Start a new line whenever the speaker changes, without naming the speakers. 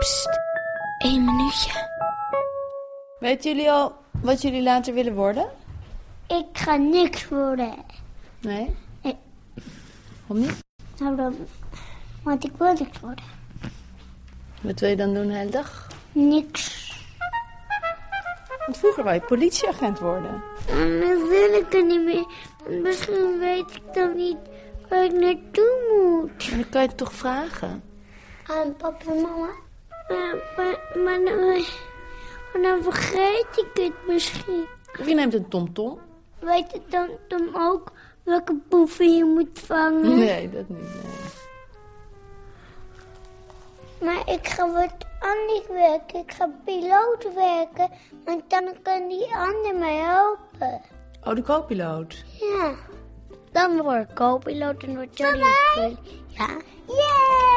Pst, één minuutje.
Weten jullie al wat jullie later willen worden?
Ik ga niks worden.
Nee.
Nee.
Waarom niet?
Nou dan, want ik wil niks worden.
Wat wil je dan doen de hele dag?
Niks.
Want vroeger wou je politieagent worden.
En dan wil ik er niet meer. Want misschien weet ik dan niet waar ik naartoe moet.
En dan kan je het toch vragen?
Aan papa en mama. Maar, maar, maar dan, maar dan vergeet ik het misschien.
Of je neemt een tomtom?
Weet het dan, dan ook welke boeven je moet vangen?
Nee, dat niet. Nee.
Maar ik ga wat anders werken. Ik ga piloot werken. Want dan kan die ander mij helpen.
Oh, de co-piloot.
Ja. Dan word ik co-piloot en word jullie. Ja. Yeah!